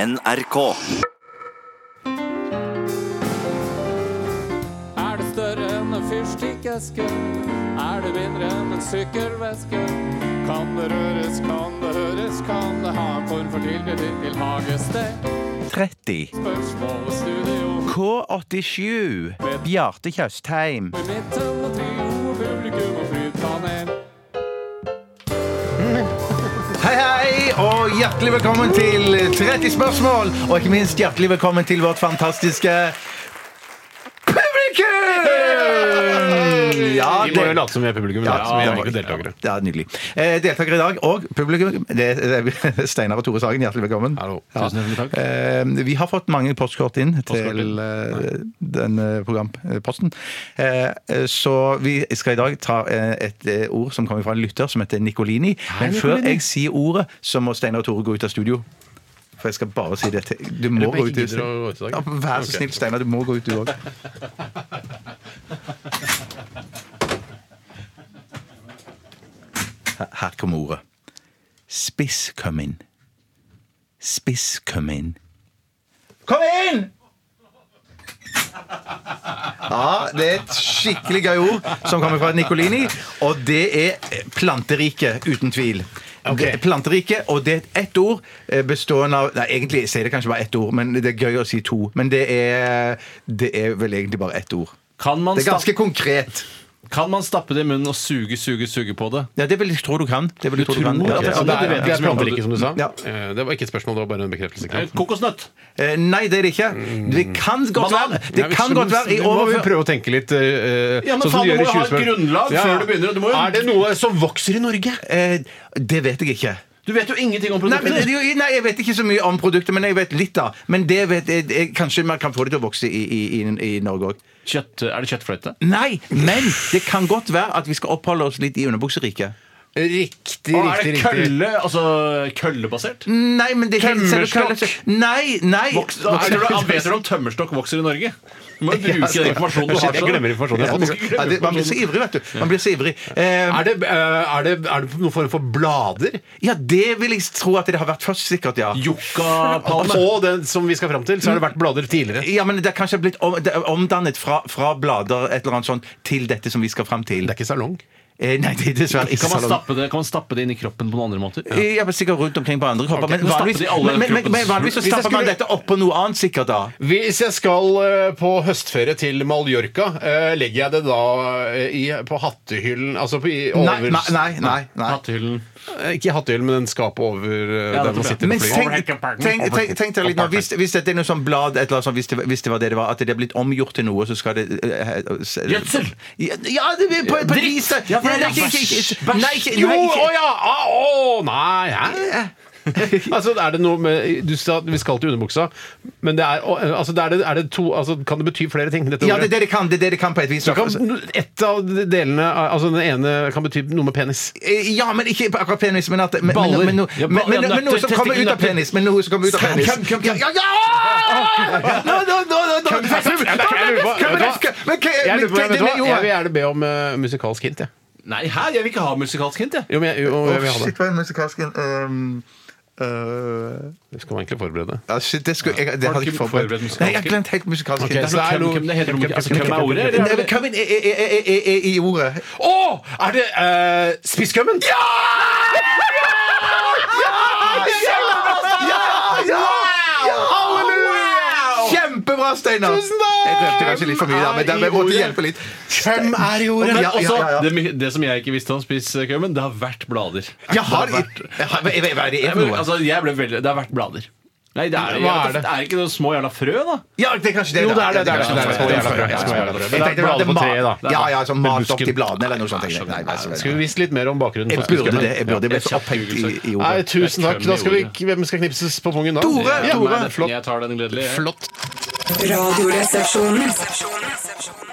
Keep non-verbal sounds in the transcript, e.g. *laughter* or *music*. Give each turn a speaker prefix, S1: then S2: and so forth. S1: NRK.
S2: Er det større enn en fyrstikkeske? Er det mindre enn en sykkelveske? Kan det røres, kan det høres, kan det ha en form for tilknytning til hagested?
S3: 30.
S2: Spørsmål og studio
S3: K87. Bjarte Tjøstheim.
S2: i midten og trio, publikum og flytpanel.
S3: Hei, hei, og hjertelig velkommen til 30 spørsmål. Og ikke minst hjertelig velkommen til vårt fantastiske publikum! Ja,
S4: Vi må jo late som vi er publikum. men
S3: Ja,
S4: late som vi
S3: det
S4: er
S3: var
S4: ikke
S3: det.
S4: deltakere.
S3: Ja, det er nydelig. Eh, deltakere i dag og publikum, det er Steinar og Tore Sagen, hjertelig velkommen.
S4: Hallo.
S3: Ja.
S4: Tusen hjertelig takk.
S3: Eh, vi har fått mange postkort inn
S4: Postkort inn?
S3: til eh, denne programposten. Eh, eh, så vi skal i dag ta eh, et eh, ord som kommer fra en lytter som heter Nicolini. Men før jeg sier ordet, så må Steinar og Tore gå ut av studio. For jeg skal bare si det til Du må
S4: Eller
S3: gå
S4: bare
S3: ut. i-
S4: gidder å gå ut i dag.
S3: Ja, vær så
S4: Ok.
S3: snill, Steinar. Du må gå ut, du òg. *laughs* Her- Her kommer ordet. Spiss kom inn. Spiss kom inn. Kom inn! Ja, det er et skikkelig gøy ord som kommer fra Nicolini. Og det er planterike, uten tvil. Det er Planterike, og det er ett ord eh, bestående av Nei, egentlig sier det kanskje bare ett ord, men det er gøy å si to. Men det er, det er vel egentlig bare ett ord.
S4: Kan man,
S3: Det er ganske konkret.
S4: stappe, kan man stappe det i munnen og suge, suge, suge på det?
S3: Ja, det vil jeg tro du kan. Det vil jeg tro du kan.
S4: Tror
S3: Ja, altså,
S4: at det
S3: ja,
S4: er sånn,
S3: ja,
S4: du vet
S3: ja.
S4: ikke så mye om planteriket, som du sa.
S3: Ja.
S4: Eh, Det var ikke et spørsmål, det var bare en bekreftelse. Knut.
S5: Kokosnøtt.
S3: Eh, Nei, det er det ikke. Det kan godt
S5: Banan.
S3: være Det
S4: Nei, men
S3: kan
S4: så-
S3: godt være i
S4: Du må jo
S3: overfør...
S4: prøve å tenke litt eh,
S5: Ja, men
S4: sånn som du
S5: faen, du
S4: gjør i
S5: må jo ha
S4: 20
S5: et
S4: spørsmål.
S5: grunnlag før du begynner, og du må jo-
S4: Er det noe som vokser i Norge?
S3: Eh, Det vet jeg ikke.
S5: Du vet jo ingenting om
S3: Nei, men,
S5: produktet.
S3: det- jo, nei, jeg vet ikke så mye om produktet, men jeg vet litt, da. Men det vet jeg, jeg, kanskje man kan få det til å vokse i, i, i, i Norge òg.
S5: Kjøtt, er det kjøttfløyte?
S3: Nei, men det kan godt være at vi skal oppholde oss litt i underbukseriket.
S4: Riktig,
S5: Og er det kølle, altså køllebasert?
S3: Nei, men det er ikke-
S5: Tømmerstokk.
S3: selv- Nei, nei.
S5: Voks- Er det- *laughs* Vet du om tømmerstokk vokser i Norge? Du må jo bruke den informasjonen du har.
S4: Jeg glemmer informasjonen.
S3: Ja,
S4: Jeg
S3: det- ja, det- man blir så ivrig, vet du. Man blir så ivrig. Eh,
S4: Er det, eh, er, det, er det noen form for blader?
S3: ja, det vil jeg tro at det har vært først, sikkert, ja.
S5: Yuccapalme.
S4: Og den som vi skal fram til, så har det vært blader tidligere.
S3: Ja, men Det er kanskje blitt om, det er omdannet fra, fra blader et eller annet sånt til dette som vi skal fram til.
S4: Det er ikke salong.
S3: Eh, nei, det er dessverre ikke
S5: Kan man,
S3: salong.
S5: stappe det, kan man stappe det inn i kroppen på noen andre måter?
S3: Ja, men Sikkert rundt omkring på andre kropper.
S5: Ok,
S3: men,
S5: da
S3: vanligvis,
S5: stapper de alle
S3: men, men, men,
S5: kroppens-
S3: vanligvis så
S4: Hvis jeg
S3: stapper man
S4: skulle-
S3: dette oppå noe annet, sikkert da.
S4: Hvis jeg skal eh, på høstferie til Mallorca, eh, legger jeg det da eh, i, på hattehyllen Altså på, i, over,
S3: Nei, nei, nei. nei, nei.
S5: Hattehyllen.
S4: Eh, Ikke i hattehyllen, men den skapet over eh,
S5: Ja,
S4: der man
S5: nettopp, ja.
S4: sitter
S3: Men
S4: på flyet.
S3: tenk, tenk, tenk, tenk deg litt nå, hvis, hvis dette er noe sånn blad, et eller annet sånt, hvis, det, hvis det var det det var, at det er blitt omgjort til noe, så skal det eh, eh, s-
S5: Gjødsel!
S3: Ja, ja, det blir på, på et vis det.
S5: Ja, for
S3: Nei,
S5: det er
S3: ikke- ikke- ikke-
S5: bæsj.
S3: Nei, ikke
S4: Jo,
S3: nei, ikke-
S4: å ja! Å, å, nei, hæ? *laughs* altså, er det noe med du sa, Vi skal til underbuksa, men det er, å, eh, altså, det er, det, er det to altså, Kan det bety flere ting? Dette
S3: Ja, det er
S4: ordet?
S3: det det kan. Det er det det kan på et vis.
S4: Så kan ett av delene Altså den ene kan bety noe med penis.
S3: Eh, Ja, men ikke på akkurat penis, men at men,
S4: Baller.
S3: Men, men, no-
S5: Ja,
S3: men, men,
S5: baller,
S3: men,
S5: nøtter,
S3: noe som kommer ut av
S5: testikkelnøtter.
S3: penis. Men noe som kommer ut av penis.
S5: Køm, køm, køm.
S3: Ja, ja, ja! Nå, nå, nå, nå, nå.
S4: Køm, køm, køm. Jeg lurer på-
S3: Køm,
S4: vet du hva?
S3: køm, men køm,
S4: Jeg, lurer på,
S3: men
S4: vet du hva?
S3: køm, jo,
S4: jeg vil gjerne be om eh, musikalsk hint. Jeg.
S5: Nei, hæ? Jeg vil ikke ha musikalsk hint, jeg.
S4: Jo, men jeg, jo, jeg vil ha det.
S3: Shit, hva er musikalsken? Ehm, øh,
S4: Det skal man egentlig forberede.
S3: ja, shit, det skulle jeg Det
S5: Har du
S3: hadde jeg ikke
S5: ikke
S3: forberedt.
S5: forberedt musikalsken?
S3: Nei, jeg har glemt helt musikalsken.
S4: Ok,
S3: Det er
S4: så
S3: noe-
S4: det er noe-
S5: Hvem- hvem- sånn det heter noe- altså, hvem er ordet? eller
S3: Nei, men
S5: er det-
S3: Køm er- er- er- er- er- er- i ordet.
S4: Å! er det uh,
S3: eh,
S4: spisskømmen? Ja!
S3: Kjempebra, Steinar!
S4: Tusen takk!
S3: Jeg røpte kanskje litt for mye, da, men der- jeg måtte hjelpe litt.
S4: Hvem er i ordet?
S5: Men
S3: Ja, ja,
S5: også,
S3: ja, ja.
S5: Det, det som jeg ikke visste om spisskømmen, det har vært blader.
S3: Jeg har jeg har- jeg vet- Hva er det
S5: Jeg,
S3: er for
S5: ble,
S3: noe?
S5: altså, jeg ble veldig, det har vært blader. Nei, det er,
S4: Hva er det?
S5: det er ikke noen små jævla frø, da.
S3: Ja, det er kanskje det.
S4: Jo, det
S3: da.
S4: er det, det
S3: Ja,
S4: er det.
S3: kanskje
S4: Små jævla brød,
S3: Ja,
S4: små jævla brød.
S3: Jeg tenkte det var
S4: Blader på
S3: mat-
S4: treet, da.
S3: Ja, ja, sånn mat opp
S4: busken.
S3: til bladene eller noe sånt. tenkte jeg. Nei, nei,
S4: Skal vi
S3: nei.
S4: vise litt mer om bakgrunnen
S3: Jeg
S4: for
S3: burde det.
S4: spisskømmen?
S3: Jeg burde bli
S5: Ja,
S3: så opphengt i, i
S4: Nei,
S3: ordet.
S4: tusen takk. Da skal vi, hvem skal knipses på pungen da?
S3: Tore,
S4: Ja,
S3: Tore.
S4: nei, Flott.
S5: Jeg tar den gledelige.
S4: Flott.
S6: Radioresepsjonen.